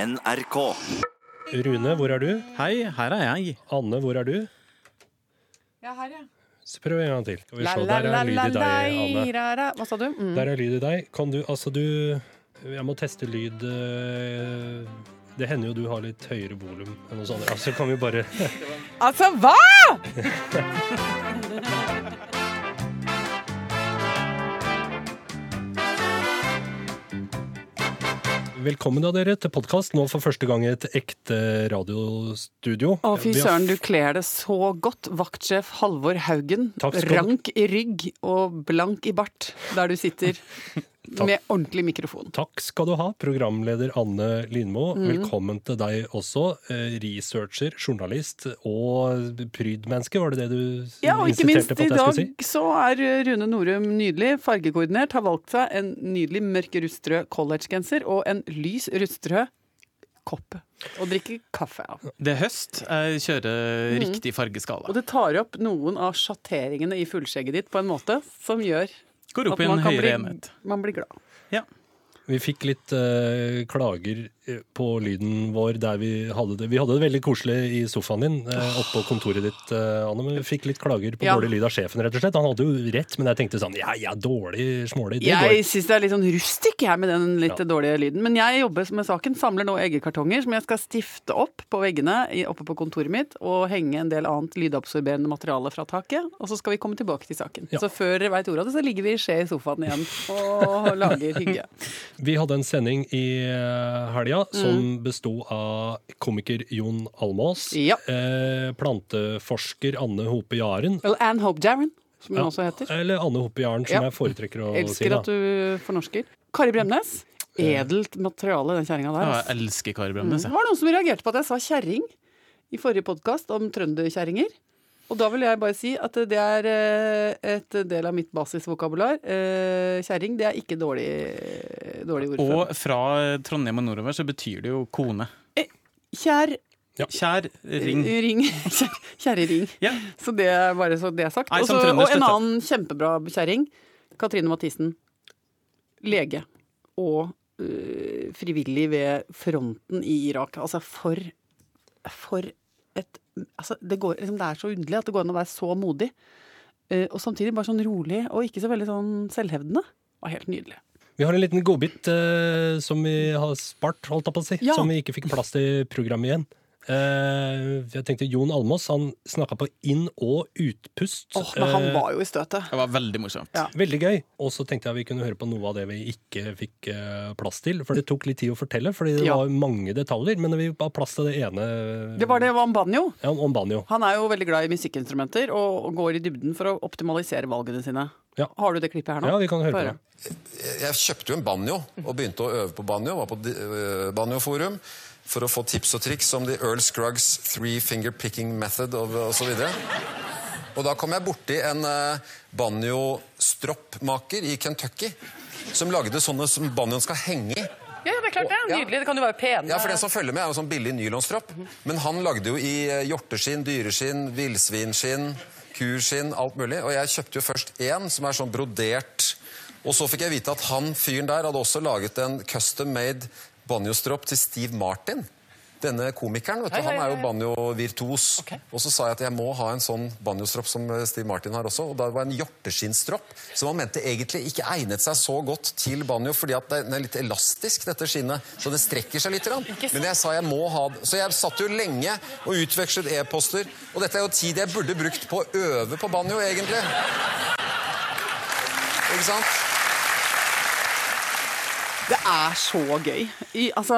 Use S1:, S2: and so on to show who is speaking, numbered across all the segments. S1: NRK.
S2: Rune, hvor er du?
S3: Hei, her er jeg.
S2: Anne, hvor er du?
S4: Ja, her, ja.
S2: Så prøv en gang til. Skal vi
S4: La,
S2: se.
S4: la,
S2: Der
S4: la,
S2: er lyd
S4: la,
S2: i deg,
S4: la,
S2: Anne.
S4: ra, ra. Hva sa du? Mm.
S2: Der er lyd i deg. Kan du Altså, du Jeg må teste lyd eh, Det hender jo du har litt høyere volum enn hos andre. Altså, kan vi bare
S4: Altså, hva?!
S2: Velkommen da, dere, til podkast. Nå for første gang i et ekte radiostudio.
S5: Å, fy
S2: Vi har-
S5: søren, du kler det så godt. Vaktsjef Halvor Haugen.
S2: Takk skal du-
S5: Rank i rygg og blank i bart der du sitter med ordentlig mikrofon.
S2: Takk skal du ha, programleder Anne Lindmo.
S5: Mm.
S2: Velkommen til deg også. eh, Researcher, journalist og prydmenneske, var det det du s-
S5: Ja, og ikke minst
S2: insisterte på
S5: i
S2: at jeg skulle si?
S5: dag så er Rune Norum nydelig fargekoordinert. Har valgt seg en nydelig mørk rustrød collegegenser og en lys rustrød kopp å drikke kaffe av.
S3: Det er høst. Jeg kjører riktig fargeskala.
S5: Mm. Og det tar opp noen av sjatteringene i fullskjegget ditt på en måte som gjør
S3: Går
S5: at
S3: opp i en
S5: man kan
S3: høyere
S5: bli,
S3: enhet.
S5: man blir glad.
S2: Vi fikk litt eh, klager eh, på lyden vår der vi hadde det. Vi hadde det veldig koselig i sofaen din uh, oppå kontoret ditt, eh, Anne, men vi fikk litt klager på
S5: Ja.
S2: dårlig lyd av sjefen, rett og slett. Han hadde jo rett, men jeg tenkte sånn ja, ja, dårlig smålig, det
S5: Jeg syns det er litt sånn rustikk jeg med den litt
S2: Ja.
S5: dårlige lyden. Men jeg jobber med saken. Samler nå eggekartonger som jeg skal stifte opp på veggene i- oppe på kontoret mitt. Og henge en del annet lydabsorberende materiale fra taket. Og så skal vi komme tilbake til saken.
S2: Ja.
S5: Så før dere veit ordet av det, så ligger vi i skje i sofaen igjen og lager hygge.
S2: går. Vi hadde en sending i eh, helga
S5: Mm.
S2: som besto av komiker Jon Almås,
S5: Ja.
S2: eh, planteforsker Anne Hope Jaren,
S5: Eller Anne Hope Jaren, som hun
S2: Ja.
S5: også heter.
S2: eller Anne Hope Jaren, som
S5: Ja.
S2: jeg foretrekker å si.
S5: Elsker
S2: da.
S5: at du fornorsker. Kari Bremnes. Edelt materiale, den kjerringa der.
S3: Ja,
S5: ass.
S3: jeg elsker altså. Kari
S5: Det
S3: Bremnes. jeg.
S5: var noen som reagerte på at jeg sa kjerring i forrige podkast om trønderkjerringer. Og da vil jeg bare si at det er eh, et del av mitt basisvokabular. Eh, Kjerring, det er ikke dårlig, dårlig ord. for
S3: Og fra Trondheim og nordover så betyr det jo kone.
S5: Kjær
S3: Kjær ring.
S5: ring. Kjær- Kjerrering.
S3: Ja.
S5: Så det er bare så det er sagt.
S3: Nei,
S5: Og
S3: som
S5: så-
S3: trønder
S5: og en
S3: støtter.
S5: annen kjempebra kjerring, Katrine Mathisen. Lege. Og øh, frivillig ved fronten i Irak. Altså, for For et altså, det, går, liksom, det er så underlig at det går an å være så modig. Eh, og samtidig bare sånn rolig og ikke så veldig sånn selvhevdende. Det var helt nydelig.
S2: Vi har en liten godbit eh, som vi har spart, holdt jeg på å si.
S5: Ja.
S2: Som vi ikke fikk plass til i programmet igjen. Eh, jeg tenkte Jon Almås han snakka på inn- og utpust.
S5: Åh, Men han
S3: øh,
S2: Eh,
S5: var jo i støtet.
S3: Det var veldig morsomt.
S5: Ja.
S2: Veldig gøy. Og så tenkte jeg vi kunne høre på noe av det vi ikke fikk eh, plass til. For det tok litt tid å fortelle, fordi det
S5: Ja.
S2: var mange detaljer. Men vi har plass til det ene
S5: Det var det om banjo.
S2: Ja, om banjo.
S5: Han er jo veldig glad i musikkinstrumenter og går i dybden for å optimalisere valgene sine.
S2: Ja.
S5: Har du det klippet her nå?
S2: Ja, vi kan høre på
S5: Bare.
S2: det.
S6: jeg kjøpte jo en banjo og begynte å øve på banjo. Var på di- øh, banjoforum for å få tips og triks om The Earl Scruggs Three Finger Picking Method og, og så videre. Og da kom jeg borti en eh, banjostroppmaker i Kentucky som lagde sånne som banjoen skal henge i.
S5: Ja, det er klart det.
S6: Ja.
S5: Nydelig. Det kan jo være pene.
S6: Ja, for det som følger med er jo sånn billig nylonstrapp. Men han lagde jo i eh, hjorteskinn, dyreskinn, villsvinskinn, kuskinn, alt mulig. Og jeg kjøpte jo først én som er sånn brodert. Og så fikk jeg vite at han fyren der hadde også laget en custom made banjostropp til Steve Martin. Denne komikeren, vet du, han er jo banjovirtuos. Og så sa jeg at jeg må ha en sånn banjostropp som eh, Steve Martin har også. Og da var det en hjorteskinnstropp som han mente egentlig ikke egnet seg så godt til banjo, fordi at det- den er litt elastisk, dette skinnet. Så det strekker seg litt. grann. Men jeg sa jeg må ha det. Så jeg satt jo lenge og utvekslet e-poster. Og dette er jo tid jeg burde brukt på å øve på banjo, egentlig. Ikke sant?
S5: Det er så gøy. I, altså,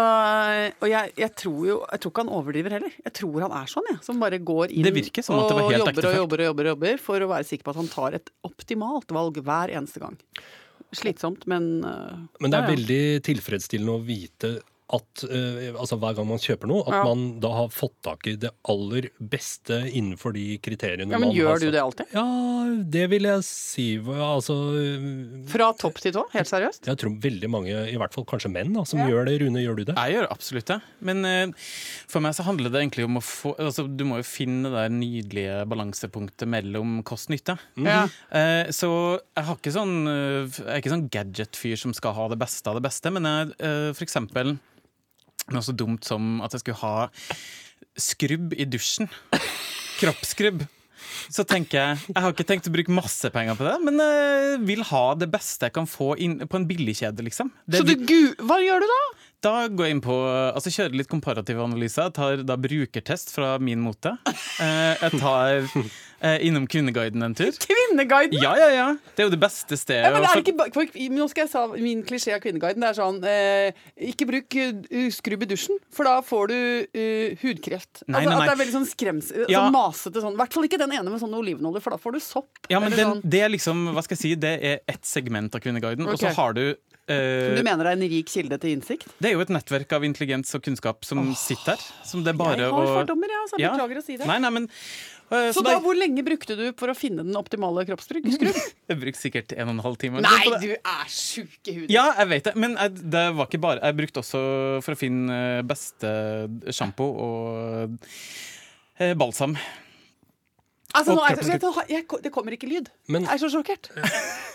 S5: og jeg, jeg tror jo Jeg tror ikke han overdriver heller. Jeg tror han er sånn, jeg. Som bare går inn
S3: Det virker som at det var
S5: og
S3: helt
S5: jobber og
S3: ektefelt.
S5: jobber og jobber og jobber for å være sikker på at han tar et optimalt valg hver eneste gang. Slitsomt, men øh,
S2: Men det er
S5: ja, ja.
S2: veldig tilfredsstillende å vite at eh, altså hver gang man kjøper noe, at
S5: Ja.
S2: man da har fått tak i det aller beste innenfor de kriteriene
S5: Ja, men
S2: man har
S5: gjør du
S2: satt.
S5: det alltid?
S2: Ja, det vil jeg si. Altså, eh,
S5: Fra topp til tå? Helt seriøst?
S2: jeg tror veldig mange, i hvert fall kanskje menn, da, som gjør det. Rune, gjør du det?
S3: Jeg gjør absolutt det. Men eh, for meg så handler det egentlig om å få altså, Du må jo finne det der nydelige balansepunktet mellom kost-nytte.
S5: Mhm. Ja.
S3: Eh, så jeg, har ikke sånn, eh, jeg er ikke sånn gadget-fyr som skal ha det beste av det beste, men jeg, eh, for eksempel noe så dumt som at jeg skulle ha skrubb i dusjen. Kroppsskrubb. Så tenker jeg Jeg har ikke tenkt å bruke masse penger på det, men eh, vil ha det beste jeg kan få inn, på en billigkjede, liksom. Det
S5: Så du,
S3: vil-
S5: gu, hva gjør du da?
S3: da går jeg inn på Altså kjører litt komparativ analyse. Jeg tar da brukertest fra min mote. Eh, Jeg tar eh, innom Kvinneguiden en tur.
S5: Kvinneguiden?
S3: Ja, ja, ja! Det er jo det beste stedet.
S5: Ja, men er
S3: å-
S5: det ikke ba- folk, nå skal jeg sa min klisjé av Kvinneguiden. Det er sånn eh, Ikke bruk eh, skrubb i dusjen, for da får du eh, hudkreft. altså, At
S3: Nei, nei,
S5: det
S3: nei.
S5: er veldig sånn skrems,
S3: Ja.
S5: sånn masete sånn. I hvert fall ikke den ene med sånn olivenolje, for da får du sopp.
S3: Ja, men
S5: Eller
S3: den,
S5: sånn,
S3: det er liksom Hva skal jeg si, det er ett segment av Kvinneguiden. Og så
S5: Ok.
S3: har du eh,
S5: du mener det er en rik kilde til innsikt?
S3: Det er jo et nettverk av intelligens og kunnskap som sitter her. Som det er bare
S5: jeg
S3: å
S5: har fordommer, jeg. Altså, jeg
S3: Ja.
S5: Beklager å si det.
S3: Nei, nei, men eh,
S5: Så
S3: det-
S5: da, hvor lenge brukte du for å finne den optimale kroppsskrubb?
S3: Jeg brukte sikkert en og en halv time.
S5: Nei,
S3: på det.
S5: du er sjuk i hudet!
S3: Ja, jeg vet det, men jeg, det var ikke bare Jeg brukte også for å finne eh, beste sjampo og eh, balsam.
S5: Altså, nå
S3: Og
S5: er jeg, så- jeg, jeg, det kommer ikke lyd.
S2: Men-
S5: jeg er så sjokkert.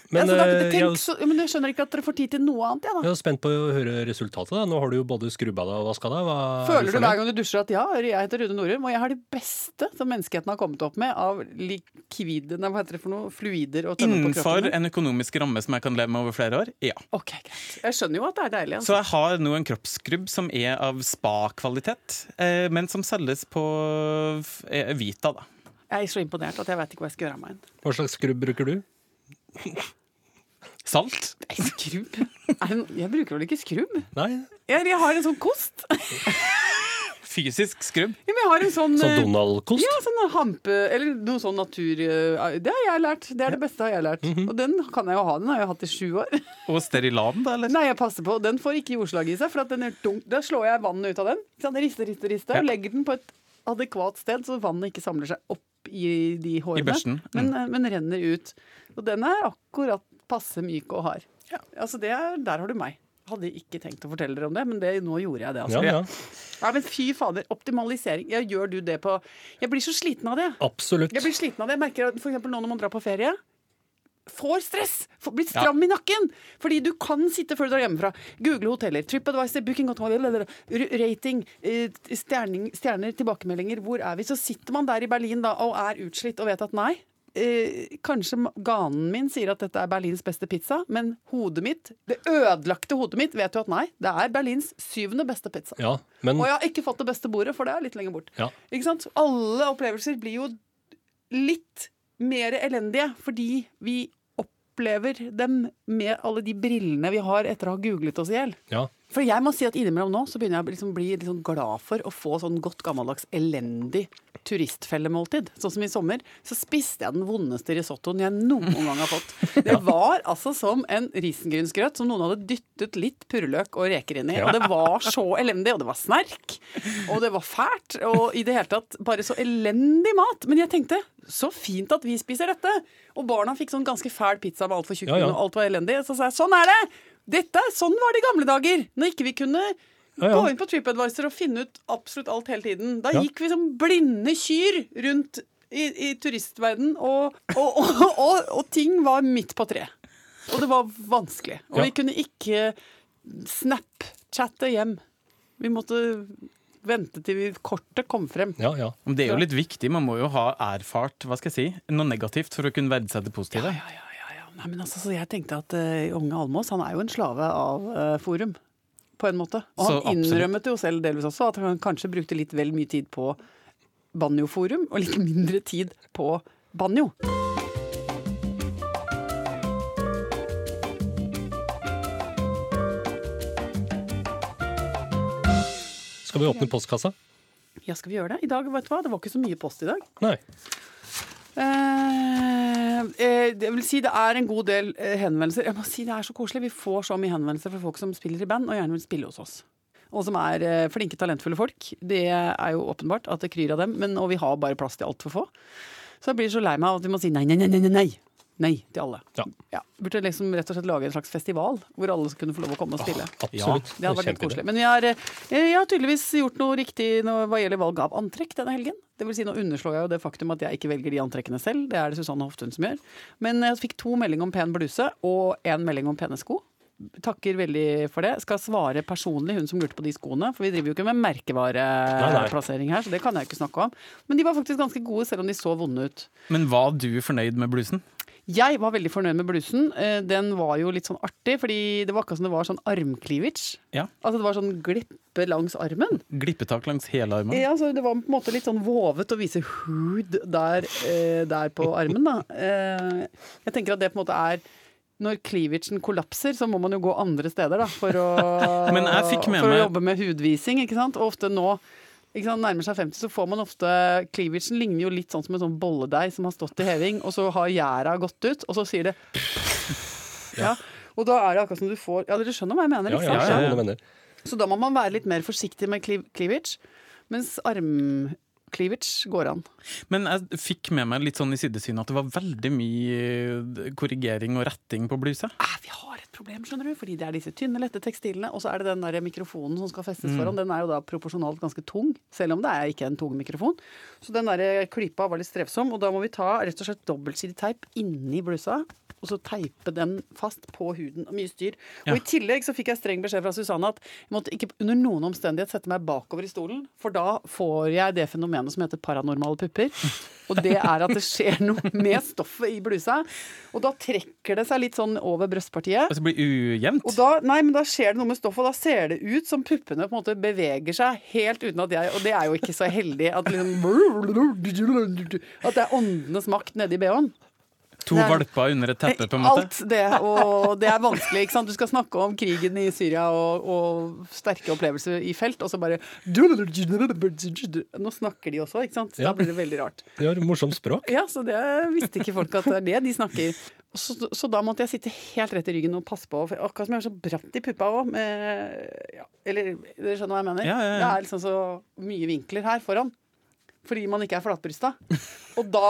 S2: Men,
S5: altså, da,
S2: eh,
S5: tenk,
S2: jeg,
S5: jeg,
S2: er-
S5: så, ja, men jeg skjønner ikke at dere får tid til noe annet, jeg, da.
S2: jeg er spent på å høre resultatet. Da. Nå har du jo både skrubba deg og vaska deg. Hva er
S5: Føler du
S2: fornøyd?
S5: hver gang du dusjer at ja, jeg heter Rune Norum, og jeg har det beste som menneskeheten har kommet opp med av likvide, nei, hva heter det for noe, fluider og tømme på
S3: Innenfor
S5: kroppen? min?
S3: en økonomisk ramme som jeg kan leve med over flere år. Ja.
S5: Ok, greit. Jeg skjønner jo at det er deilig.
S3: Så
S5: Altså.
S3: jeg har nå en kroppsskrubb som er av spa-kvalitet, eh, men som selges på f- eh, Vita, da.
S5: Jeg er så imponert at jeg veit ikke hva jeg skal gjøre av meg. en.
S2: Hva slags skrubb bruker du?
S3: Salt.
S5: Nei, Skrubb? Er det noe- Jeg bruker vel ikke skrubb?
S2: Nei,
S5: Jeg, jeg har en sånn kost. Ja,
S3: Fysisk skrubb.
S5: men Jeg har en sånn
S2: sånn
S5: eh,
S2: Donald-kost?
S5: ja, sånn hampe, eller noe sånn natur... eh, Det har jeg lært. Det er det beste jeg har lært. Og den kan jeg jo ha. Den har jeg hatt i sju år.
S3: Og Sterilan, da, eller?
S5: Nei, jeg passer på. Den får ikke jordslag i seg, for at den er dunk. Da slår jeg vannet ut av den. Ikke sant? Rister, rister, rister.
S3: Ja.
S5: Og legger den på et adekvat sted, så vannet ikke samler seg opp i de hårene.
S3: børsten, mm.
S5: Men, men renner ut. Og den er akkurat passe myk og hard. Altså, det er, der har du meg. Hadde ikke tenkt å fortelle dere om det, men det, nå gjorde jeg det.
S2: Ja,
S5: Altså.
S2: ja.
S5: Nei, men fy fader. Optimalisering. Ja, gjør du det på Jeg blir så sliten av det.
S2: Absolutt.
S5: Jeg blir sliten av det. Jeg merker at for eksempel nå når man drar på ferie Får stress! Får, blir stram i nakken! Fordi du kan sitte før du drar hjemmefra. Google hoteller, TripAdvisor, Booking.com, r- rating, eh, stjerning, stjerner, tilbakemeldinger. Hvor er vi? Så sitter man der i Berlin da og er utslitt og vet at nei. Eh, kanskje ma- ganen min sier at dette er Berlins beste pizza, men hodet mitt, det ødelagte hodet mitt, vet jo at nei, det er Berlins syvende beste pizza.
S2: Ja, men
S5: Og jeg har ikke fått det beste bordet, for det er litt lenger bort.
S2: Ja.
S5: Ikke sant? Alle opplevelser blir jo litt mer elendige, fordi vi opplever dem med alle de brillene vi har etter å ha googlet oss i hjel.
S2: ja.
S5: For jeg må si at innimellom nå så begynner jeg å liksom bli litt sånn glad for å få sånn godt gammeldags elendig turistfellemåltid. Sånn som i sommer, så spiste jeg den vondeste risottoen jeg noen gang har fått. Det var altså som en risengrynsgrøt som noen hadde dyttet litt purreløk og reker inn i. Og det var så elendig, og det var snerk, og det var fælt, og i det hele tatt bare så elendig mat. Men jeg tenkte, så fint at vi spiser dette. Og barna fikk sånn ganske fæl pizza med altfor tjukk
S2: Ja, ja.
S5: bunn, og alt var elendig. Så sa jeg, sånn er det! Dette, er- sånn var det i gamle dager, når ikke vi kunne
S2: Ja, ja.
S5: gå inn på TripAdvisor og finne ut absolutt alt hele tiden. Da
S2: Ja.
S5: gikk vi som blinde kyr rundt i, i turistverden, og, og, og, og, og ting var midt på treet. Og det var vanskelig. Og
S2: Ja.
S5: vi kunne ikke snap-chatte hjem. Vi måtte vente til vi kortet kom frem.
S2: ja, ja.
S3: Men Det er jo litt viktig. Man må jo ha erfart hva skal jeg si, noe negativt for å kunne verdsette det positive.
S5: Ja, ja, ja, ja. Nei, men altså, så jeg tenkte at eh, unge Almås han er jo en slave av eh, Forum, på en måte. Og han
S3: Så absolutt.
S5: innrømmet jo selv delvis også at han kanskje brukte litt vel mye tid på banjoforum, og litt mindre tid på banjo.
S2: Skal vi åpne postkassa?
S5: Ja, skal vi gjøre det? I dag, vet du hva, det var ikke så mye post i dag.
S2: Nei.
S5: Eh, eh, det vil si det er en god del eh, henvendelser. Jeg må si det er så koselig. Vi får så mye henvendelser fra folk som spiller i band og gjerne vil spille hos oss. Og som er eh, flinke, talentfulle folk. Det er jo åpenbart at det kryr av dem, men, og vi har bare plass til altfor få. Så jeg blir så lei meg av at vi må si nei, nei, nei, nei, nei. Nei Nei til alle.
S2: Ja.
S5: Burde liksom rett og slett lage en slags festival hvor alle skulle kunne få lov å komme og spille.
S2: Absolutt.
S5: Det hadde vært litt
S2: Kjempeidé.
S5: koselig. Men jeg har, eh, jeg har tydeligvis gjort noe riktig nå hva gjelder valg av antrekk denne helgen. Det vil si, nå underslår jeg jo det faktum at jeg ikke velger de antrekkene selv. Det er det Susanne Hoftun som gjør. Men jeg fikk to meldinger om pen bluse og én melding om pene sko. takker veldig for det. Skal svare personlig, hun som lurte på de skoene. For vi driver jo ikke med
S2: nei.
S5: merkevareplassering her, så det kan jeg jo ikke snakke om. Men de var faktisk ganske gode, selv om de så vonde ut.
S3: Men var du fornøyd med blusen?
S5: Jeg var veldig fornøyd med blusen. Eh, Den var jo litt sånn artig, fordi det var akkurat som det var sånn armcleavage.
S3: Ja.
S5: Altså det var sånn glippe langs armen.
S3: Glippetak langs hele armen?
S5: Ja, så det var på en måte litt sånn vovet å vise hud der, eh, der på armen, da. Eh, jeg tenker at det på en måte er når cleavagen kollapser, så må man jo gå andre steder da, for å,
S3: Men jeg fikk med
S5: for å
S3: meg-
S5: jobbe med hudvising. ikke sant? Og ofte nå, ikke sant, nærmer seg 50, så får man ofte Cleavagen ligner jo litt sånn som en sånn bolledeig som har stått i heving, og så har gjæra gått ut, og så sier det ja. Og da er det akkurat som du får Ja, dere skjønner hva jeg mener?
S2: Ja,
S5: ikke
S2: ja,
S5: sant?
S2: jeg skjønner hva du mener.
S5: Så da må man være litt mer forsiktig med cleav- cleavage, mens armcleavage går an.
S3: Men jeg fikk med meg litt sånn i sidesynet at det var veldig mye eh, korrigering og retting på blusa.
S5: Ah, vi har et problem, skjønner du, fordi det er disse tynne, lette tekstilene, og så er det den der mikrofonen som skal festes foran, den er jo da proporsjonalt ganske tung, selv om det er ikke en tung mikrofon. Så den der eh, klypa var litt strevsom, og da må vi ta rett og slett dobbeltsidig teip inni blusa, og så teipe den fast på huden. Mye styr. Og i tillegg så fikk jeg streng beskjed fra Susanne at jeg måtte ikke under noen omstendighet sette meg bakover i stolen, for da får jeg det fenomenet som heter paranormale pupper. Og det er at det skjer noe med stoffet i blusa, og da trekker det seg litt sånn over brøstpartiet.
S3: Altså det blir ujevnt.
S5: Og da, nei, men da skjer det noe med stoffet, og da ser det ut som puppene på en måte beveger seg helt uten at jeg Og det er jo ikke så heldig at liksom At det er åndenes makt nedi bh-en.
S3: to
S5: Nei.
S3: valper under et teppe, på en måte.
S5: Alt det, og det er vanskelig, ikke sant. Du skal snakke om krigen i Syria og, og sterke opplevelser i felt, og så bare Nå snakker de også, ikke sant. Da blir det veldig rart.
S2: De har morsomt språk.
S5: Ja, så det visste ikke folk at det er det de snakker. Og Så, så da måtte jeg sitte helt rett i ryggen og passe på. For akkurat som jeg er så bratt i puppa òg. Ja, eller dere skjønner hva jeg mener?
S3: Ja, ja, ja.
S5: Det er liksom så mye vinkler her foran. Fordi man ikke er flatbrysta. Og da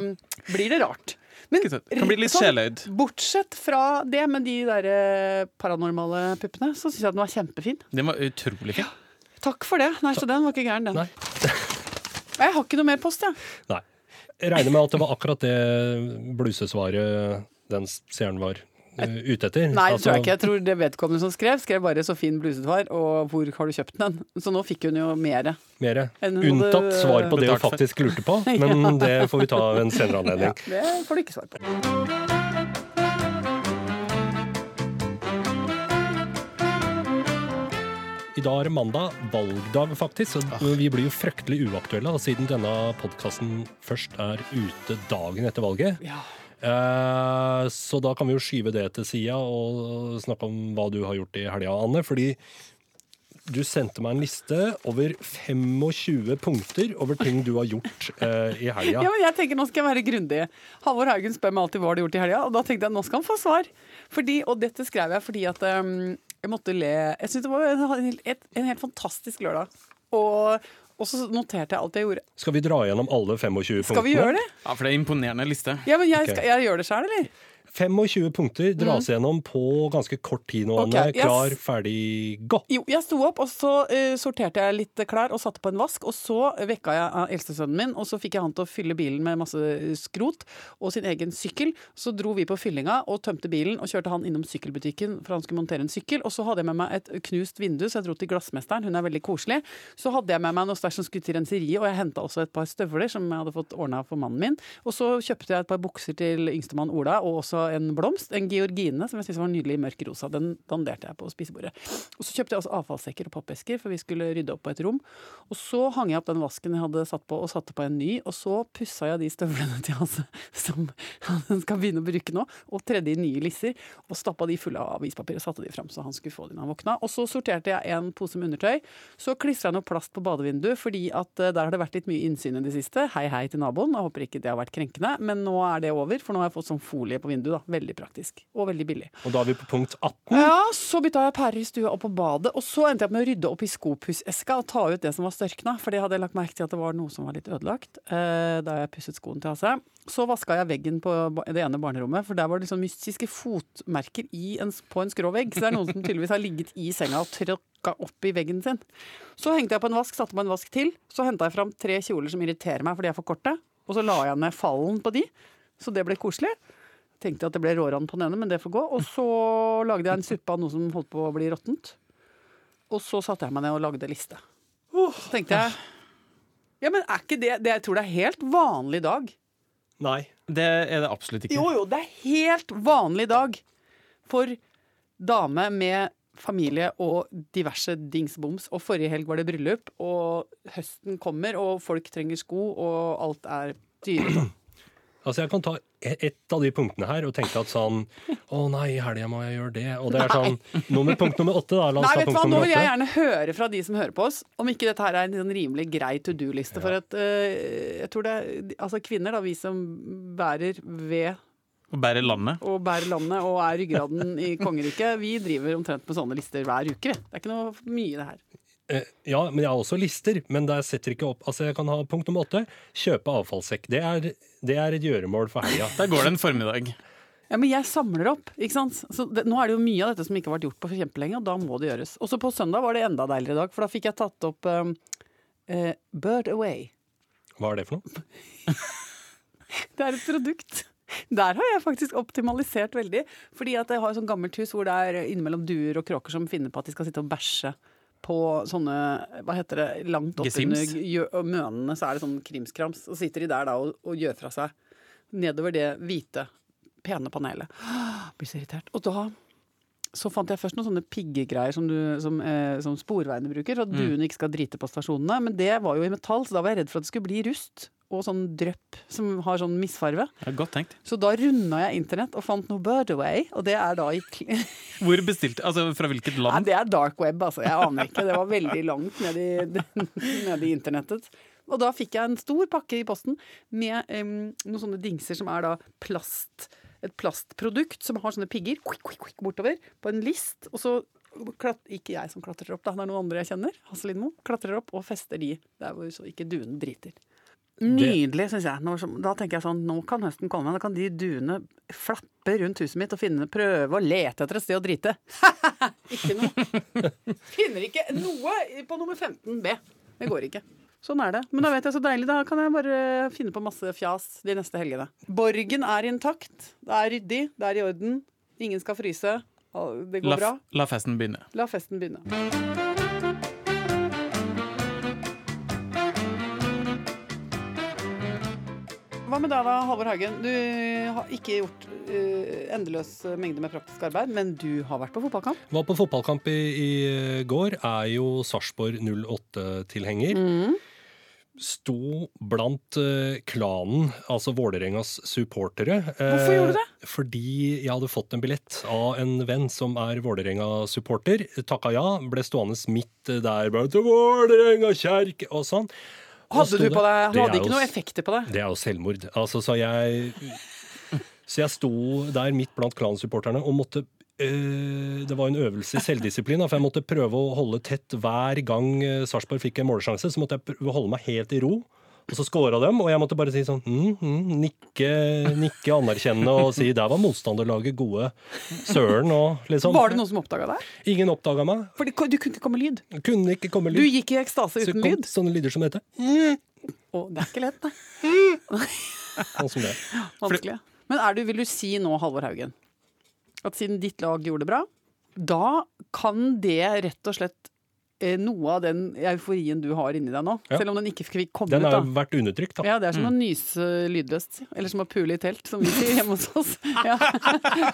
S5: um, blir det rart. Men sånn,
S3: Ikke sant? Kan bli litt sjeløyd.
S5: bortsett fra det med de der eh, paranormale puppene, så syns jeg at den var kjempefin.
S3: Den var utrolig fin.
S5: Takk for det. Nei, så den var ikke gæren, den.
S2: Nei.
S5: Jeg har ikke noe mer post, jeg.
S2: Nei. Jeg regner med at det var akkurat det blusesvaret den seeren var eh, ute etter.
S5: Nei, det
S2: Altså,
S5: tror jeg ikke. Jeg tror det vedkommende som skrev, skrev bare 'så fin bluset var', og 'hvor har du kjøpt den?' Så nå fikk hun jo mere.
S2: Mere.
S5: Enn hun
S2: Unntatt
S5: hadde-
S2: svar på det hun
S3: Betalt for.
S2: faktisk lurte på, men det får vi ta ved en senere anledning.
S5: Det får du ikke svar på.
S2: I dag er det mandag, valgdag faktisk,
S5: Ah.
S2: og vi blir jo fryktelig uaktuelle da, siden denne podkasten først er ute dagen etter valget. Eh, Så da kan vi jo skyve det til sida og snakke om hva du har gjort i helga, Anne. Fordi du sendte meg en liste over 25 punkter over ting du har gjort eh, i helga.
S5: Ja, men jeg tenker nå skal jeg være grundig. Halvor Haugen spør meg alltid hva har du gjort i helga, og da tenkte jeg nå skal han få svar. Fordi, og dette skrev jeg fordi at um, jeg måtte le Jeg syntes det var en, helt- et, en helt fantastisk lørdag. Og, og så noterte jeg alt jeg gjorde.
S2: Skal vi dra gjennom alle 25 punktene?
S5: Skal vi gjøre det?
S3: Ja, for det er en imponerende liste.
S5: Ja, men jeg,
S2: Ok.
S5: skal, jeg gjør det sjøl, eller?
S2: 25 punkter dras gjennom på ganske kort tid nå,
S5: Mm. Ok,
S2: Anne.
S5: yes.
S2: Klar, ferdig, gå!
S5: Jo, jeg sto opp, og så eh, sorterte jeg litt klær og satte på en vask. Og så vekka jeg eh, eldstesønnen min, og så fikk jeg han til å fylle bilen med masse skrot og sin egen sykkel. Så dro vi på fyllinga og tømte bilen og kjørte han innom sykkelbutikken for han skulle montere en sykkel. Og så hadde jeg med meg et knust vindu, så jeg dro til glassmesteren, hun er veldig koselig. Så hadde jeg med meg noe stæsj som skulle til renseriet, og jeg henta også et par støvler som jeg hadde fått ordna for mannen min. Og så kjøpte jeg et par bukser til yngstemann Ola, og også en blomst, en georgine, som jeg syntes var nydelig i mørk rosa. Den danderte jeg på spisebordet. Og så kjøpte jeg også avfallssekker og pappesker, for vi skulle rydde opp på et rom. Og så hang jeg opp den vasken jeg hadde satt på, og satte på en ny. Og så pussa jeg de støvlene til Hasse, som han skal begynne å bruke nå, og tredde i nye lisser. Og stappa de fulle av avispapir og satte de fram, så han skulle få de når han våkna. Og så sorterte jeg en pose med undertøy. Så klistra jeg noe plast på badevinduet, fordi at eh, der har det vært litt mye innsyn i det siste. Hei, hei til naboen. Jeg håper ikke det har vært krenkende, men nå er det over, for nå har jeg fått sånn folie på vinduet, da. Veldig praktisk. Og veldig billig.
S2: Og da er vi på punkt 18.
S5: Ja, så bytta jeg pærer i stua og på badet, og så endte jeg opp med å rydde opp i skopusseska og ta ut det som var størkna, for det hadde jeg lagt merke til at det var noe som var litt ødelagt eh, da jeg pusset skoen til Hasse. Så vaska jeg veggen på ba- det ene barnerommet, for der var det liksom mystiske fotmerker i en, s- på en skrå vegg, så det er noen som tydeligvis har ligget i senga og tråkka opp i veggen sin. Så hengte jeg på en vask, satte på en vask til, så henta jeg fram tre kjoler som irriterer meg fordi jeg er for korte, og så la jeg ned fallen på de, så det ble koselig. Tenkte at det ble råran på den ene, men det får gå. Og så lagde jeg en suppe av noe som holdt på å bli råttent. Og så satte jeg meg ned og lagde liste. Så tenkte jeg Ja, men er ikke det, det Jeg tror det er helt vanlig dag.
S2: Nei.
S3: Det er det absolutt ikke.
S5: Jo, jo, det er helt vanlig dag for dame med familie og diverse dingsboms. Og forrige helg var det bryllup, og høsten kommer, og folk trenger sko, og alt er dyrt.
S2: Altså, jeg kan ta e- ett av de punktene her og tenke at sånn Å nei, i helga må jeg gjøre det. Og det er sånn nummer, Punkt nummer åtte, da. La
S5: Nei,
S2: oss ta
S5: vet du hva,
S2: punkt
S5: Nå
S2: nummer
S5: vil jeg
S2: åtte.
S5: gjerne høre fra de som hører på oss, om ikke dette her er en sånn rimelig grei to do-liste. For at eh, jeg tror det er altså kvinner, da, vi som bærer ved
S3: Å bære landet.
S5: og bærer landet og er ryggraden i kongeriket, vi driver omtrent med sånne lister hver uke. vi. Det er ikke noe mye, det her.
S2: Eh, Ja, men jeg har også lister, men der setter ikke opp Altså, jeg kan ha punkt nummer åtte. Kjøpe avfallssekk. Det er, det er et gjøremål for helga.
S3: Der går det en formiddag.
S5: Ja, men jeg samler opp, ikke sant. Så det, nå er det jo mye av dette som ikke har vært gjort på kjempelenge, og da må det gjøres. Og så på søndag var det enda deiligere i dag, for da fikk jeg tatt opp um, eh, Bird Away.
S2: Hva er det for noe?
S5: Det er et produkt. Der har jeg faktisk optimalisert veldig. Fordi at jeg har et sånt gammelt hus hvor det er innimellom duer og kråker som finner på at de skal sitte og bæsje på sånne, hva heter det, langt oppunder
S3: Gesims?
S5: mønene, så er det sånn krimskrams. Og sitter de der da og, og gjør fra seg nedover det hvite, pene panelet. Blir så irritert. Og da så fant jeg først noen sånne piggegreier som, du, som, eh, som sporveiene bruker, så at duene ikke skal drite på stasjonene. Men det var jo i metall, så da var jeg redd for at det skulle bli rust og sånn drypp som har sånn misfarve.
S3: Ja, godt tenkt.
S5: Så da runda jeg internett og fant noe Birdaway, og det er da i kli-
S3: Hvor bestilte Altså, fra hvilket
S5: Nei,
S3: land?
S5: det er dark web, altså. Jeg aner ikke. Det var veldig langt ned i, ned i internettet. Og da fikk jeg en stor pakke i posten med em, noen sånne dingser som er da plast. Et plastprodukt som har sånne pigger kuik, kuik, kuik, bortover på en list. Og så klat, Ikke jeg som klatrer opp, da. Det er noen andre jeg kjenner. Hasse Lindmo. Klatrer opp og fester de der hvor så ikke duene driter. Nydelig, syns jeg. Nå, som- da tenker jeg sånn, nå kan høsten komme. Da kan de duene flappe rundt huset mitt og finne, prøve å lete etter et sted å drite. ikke noe. Finner ikke noe på nummer 15B. Det går ikke. Sånn er det. Men da vet jeg så deilig. Da kan jeg bare finne på masse fjas de neste helgene. Borgen er intakt. Det er ryddig. Det er i orden. Ingen skal fryse. Det
S3: La,
S5: går bra.
S3: la festen begynne.
S5: La festen begynne. Hva med deg da, Halvor Hagen? Du har ikke gjort eh, endeløs mengde med praktisk arbeid, men du har vært på fotballkamp.
S2: Var på fotballkamp i, i eh, går, er jo Sarpsborg 08-tilhenger.
S5: Mm.
S2: Sto blant eh, klanen, altså Vålerengas supportere.
S5: Hvorfor gjorde du
S2: det? Fordi jeg hadde fått en billett av en venn som er Vålerenga-supporter. Takka ja, ble stående midt eh, der. bare til Vålerenga kjerke og sånn. Og sto
S5: Hadde du på deg? Du
S2: Det er
S5: hadde ikke
S2: jo
S5: noen
S2: s-
S5: effekter på deg.
S2: det er jo selvmord. Altså, så jeg Så jeg sto der midt blant klansupporterne og måtte øh, det var en øvelse i selvdisiplin, da, for jeg måtte prøve å holde tett hver gang øh, Sarpsborg fikk en målesjanse. Så måtte jeg prøve å holde meg helt i ro, og så scora dem. Og jeg måtte bare si sånn mm, mm, nikke, nikke anerkjennende og si der var motstanderlaget gode. Søren og liksom.
S5: Var det noen som oppdaga deg?
S2: Ingen oppdaga meg.
S5: For det- du kunne ikke komme lyd.
S2: Kunne ikke komme
S5: Du
S2: lyd.
S5: gikk i ekstase
S2: Så
S5: uten
S2: kom
S5: lyd.
S2: sånne lyder som dette.
S5: Å, det er ikke lett, nei.
S2: Sånn som det.
S5: Vanskelig. Men er du, vil du si nå, Halvor Haugen, at siden ditt lag gjorde det bra, da kan det rett og slett eh, noe av den euforien du har inni deg nå,
S2: Ja.
S5: selv om den ikke fikk komme
S2: Den
S5: ut,
S2: har
S5: da.
S2: jo vært undertrykt, da.
S5: Ja, det er
S3: Mm.
S5: som å nyse lydløst, eller som å pule i telt, som vi sier hjemme hos oss. Ja.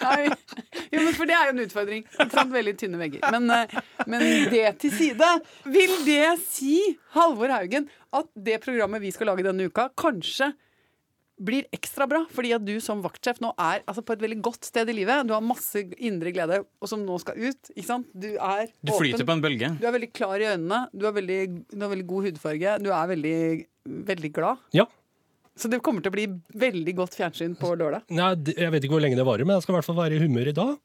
S5: Nei. Jo, men for det er jo en utfordring. Ikke sant? Veldig tynne vegger. Men, eh, men det til side. Vil det si, Halvor Haugen, at det programmet vi skal lage denne uka, kanskje blir ekstra bra, fordi at du som vaktsjef nå er altså, på et veldig godt sted i livet. Du har masse indre glede, og som nå skal ut. Ikke sant? Du er
S3: Du flyter på en bølge.
S5: Du er veldig klar i øynene, du har veldig, du har veldig god hudfarge, du er veldig, veldig glad.
S2: Ja.
S5: Så det kommer til å bli veldig godt fjernsyn på lørdag.
S2: Nei, det- jeg vet ikke hvor lenge det varer, men jeg skal i hvert fall være i humør i dag.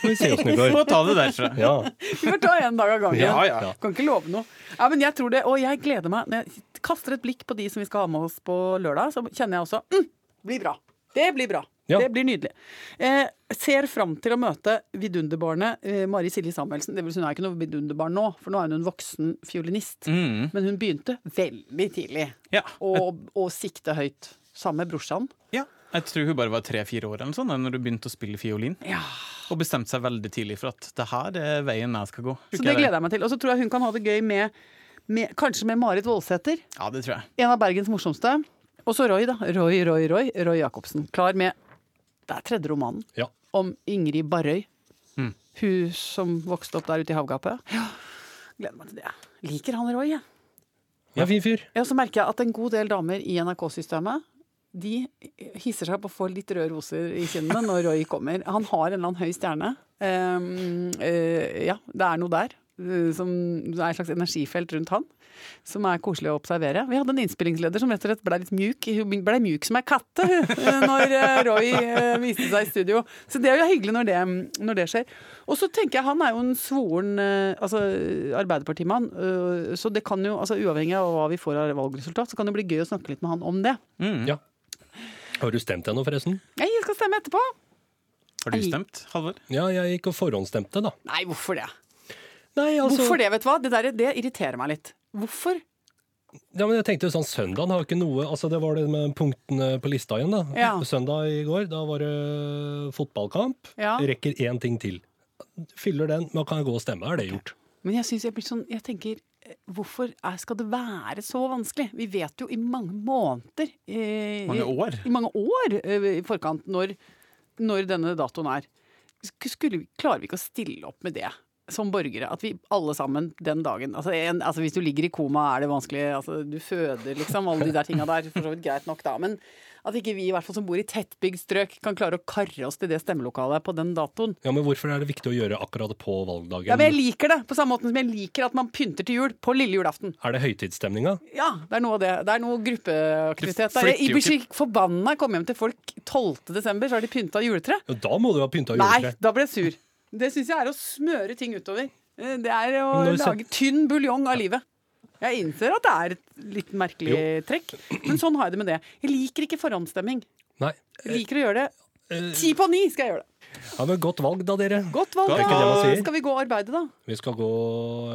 S2: Vi ser åssen det går.
S3: Må ta det derfra.
S2: Ja.
S5: Vi får ta en dag av gangen.
S3: Ja, ja.
S5: Kan ikke love noe. Ja, men jeg tror det, og jeg gleder meg. Når jeg kaster et blikk på de som vi skal ha med oss på lørdag, så kjenner jeg også mm, blir bra. Det blir bra.
S2: Ja.
S5: Det blir nydelig. Eh, ser fram til å møte vidunderbarnet eh, Mari Silje Samuelsen. Det vil si, hun er ikke noe vidunderbarn nå, for nå er hun en voksen fiolinist.
S3: Mm.
S5: Men hun begynte veldig tidlig
S3: Ja.
S5: å, å sikte høyt. Sammen med brorsan.
S3: ja. Jeg tror hun bare var tre-fire år eller noe sånt, da når hun begynte å spille fiolin. Og bestemte seg veldig tidlig for at det her er veien jeg skal gå.
S5: Så det gleder jeg meg til. Og så tror jeg hun kan ha det gøy med, med kanskje med Marit Voldsæter.
S3: Ja, det tror jeg.
S5: En av Bergens morsomste. Og så Roy, da. Roy, Roy, Roy. Roy Jacobsen. Klar med Det er tredje romanen
S2: Ja.
S5: om Ingrid Barrøy. Hun som vokste opp der ute i havgapet. Mm. Ja, gleder meg til det. Liker han Roy, jeg.
S2: Ja, fin fyr.
S5: Ja, så merker jeg at en god del damer i NRK-systemet de hisser seg opp og får litt røde roser i kinnene når Roy kommer. Han har en eller annen høy stjerne. Ehm, eh, ja, det er noe der. eh, Som det er et slags energifelt rundt han, som er koselig å observere. Vi hadde en innspillingsleder som rett og slett ble litt mjuk. Hun ble mjuk som ei katte hun, eh, når eh, Roy eh, viste seg i studio. Så det er jo hyggelig når det, når det skjer. Og så tenker jeg han er jo en svoren eh, altså, Arbeiderpartimann, eh, så det kan jo, altså, uavhengig av hva vi får av valgresultat, så kan det bli gøy å snakke litt med han om det.
S2: Ja. Har du stemt ennå, forresten?
S5: Nei, jeg skal stemme etterpå.
S3: Har du
S5: Jeg-
S3: stemt, Halvor?
S2: Ja, jeg gikk og forhåndsstemte, da.
S5: Nei, hvorfor det?
S2: Nei, altså
S5: Hvorfor det, vet du hva? Det, der, det irriterer meg litt. Hvorfor?
S2: Ja, men jeg tenkte sånn, Søndagen har ikke noe altså Det var det med punktene på lista igjen. da.
S5: Ja.
S2: Søndag i går, da var det fotballkamp.
S5: Ja.
S2: Rekker én ting til. Fyller den, men kan jeg gå og stemme? Er det gjort?
S5: Men jeg synes jeg blir sånn, jeg tenker, eh, hvorfor er, skal det være så vanskelig? Vi vet jo i mange måneder eh,
S3: Mange år.
S5: I, mange år eh, i forkant når, når denne datoen er. Sk- Skulle, vi- klarer vi ikke å stille opp med det? Som borgere, at vi alle sammen den dagen altså, en, altså Hvis du ligger i koma, er det vanskelig. Altså, du føder, liksom. Alle de der tinga der. For så vidt greit nok, da. Men at ikke vi i hvert fall som bor i tettbygd strøk, kan klare å karre oss til det stemmelokalet på den datoen.
S2: Ja, men Hvorfor er det viktig å gjøre akkurat på valgdagen?
S5: Ja, men jeg liker det, på samme måten som jeg liker at man pynter til jul på lille julaften.
S2: Er det høytidsstemninga?
S5: Ja, Det er noe av det. Det er noe gruppeaktivitet.
S3: Du
S5: Der. Jeg
S3: flytter jo
S5: blir så forbanna. Jeg kom hjem til folk 12. desember, så har de pynta juletre.
S2: Ja, da må du ha pynta
S5: Nei,
S2: juletre.
S5: da ble jeg sur. Det syns jeg er å smøre ting utover. Eh, Det er å
S2: Men når du
S5: lage tynn buljong av livet. Jeg innser at det er et litt merkelig trekk, men sånn har jeg det med det. Jeg liker ikke forhåndsstemming.
S2: Nei. Eh,
S5: Jeg liker å gjøre det. Ti på ni skal jeg gjøre det.
S2: Ja, men Godt valg, da, dere.
S5: Godt valg,
S2: Det er ikke det man
S5: da.
S2: sier.
S5: Skal vi gå og arbeide, da?
S2: Vi skal gå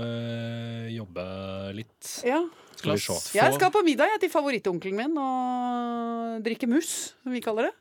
S2: øh, jobbe litt.
S5: Ja.
S2: Skal vi se.
S5: Jeg skal på middag jeg, til favorittonkelen min og drikke mus, som vi kaller det.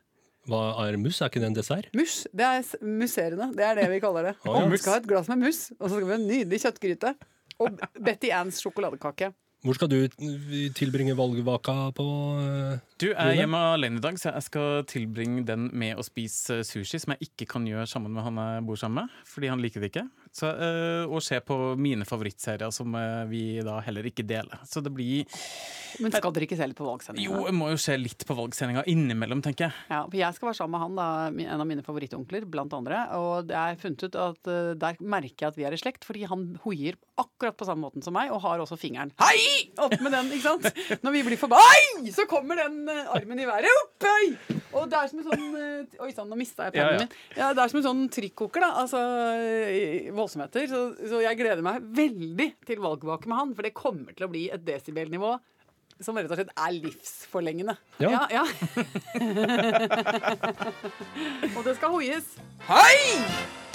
S2: Hva er mus? Er ikke det en dessert?
S5: Mus. Det er s- musserende. Det er det vi kaller det.
S2: Å, ja.
S5: Og vi skal ha et glass med mus, og så skal vi ha en nydelig kjøttgryte. Og Betty Anns sjokoladekake.
S2: Hvor skal du øh, tilbringe valgvaka på? øh?
S3: Du er hjemme alene i dag, så jeg skal tilbringe den med å spise sushi, som jeg ikke kan gjøre sammen med han jeg bor sammen med, fordi han liker det ikke. Så, eh, og se på mine favorittserier, som eh, vi da heller ikke deler. Så det blir
S5: Men skal dere ikke se litt på
S3: Jo,
S5: valgsendinga?
S3: jeg må jo se litt på valgsendinga innimellom, tenker jeg.
S5: Ja, for jeg skal være sammen med han, da, min- en av mine favorittonkler, blant andre. Og det er funnet ut at eh, der merker jeg at vi er i slekt, fordi han hoier akkurat på samme måten som meg, og har også fingeren Hei! Opp med den, ikke sant? Når vi blir forbanna, Hei! så kommer den eh, armen i været. Opp, hei! Og det er som en sånn eh, Oi sann, nå mista jeg
S3: Ja, ja.
S5: pennen min. Ja, det er som en sånn trykkoker, da. Altså eh, voldsomheter. Så, så jeg gleder meg veldig til valgvake med han, for det kommer til å bli et desibelnivå som rett og slett er livsforlengende.
S2: Ja.
S5: ja. Og det skal hoies. Hei!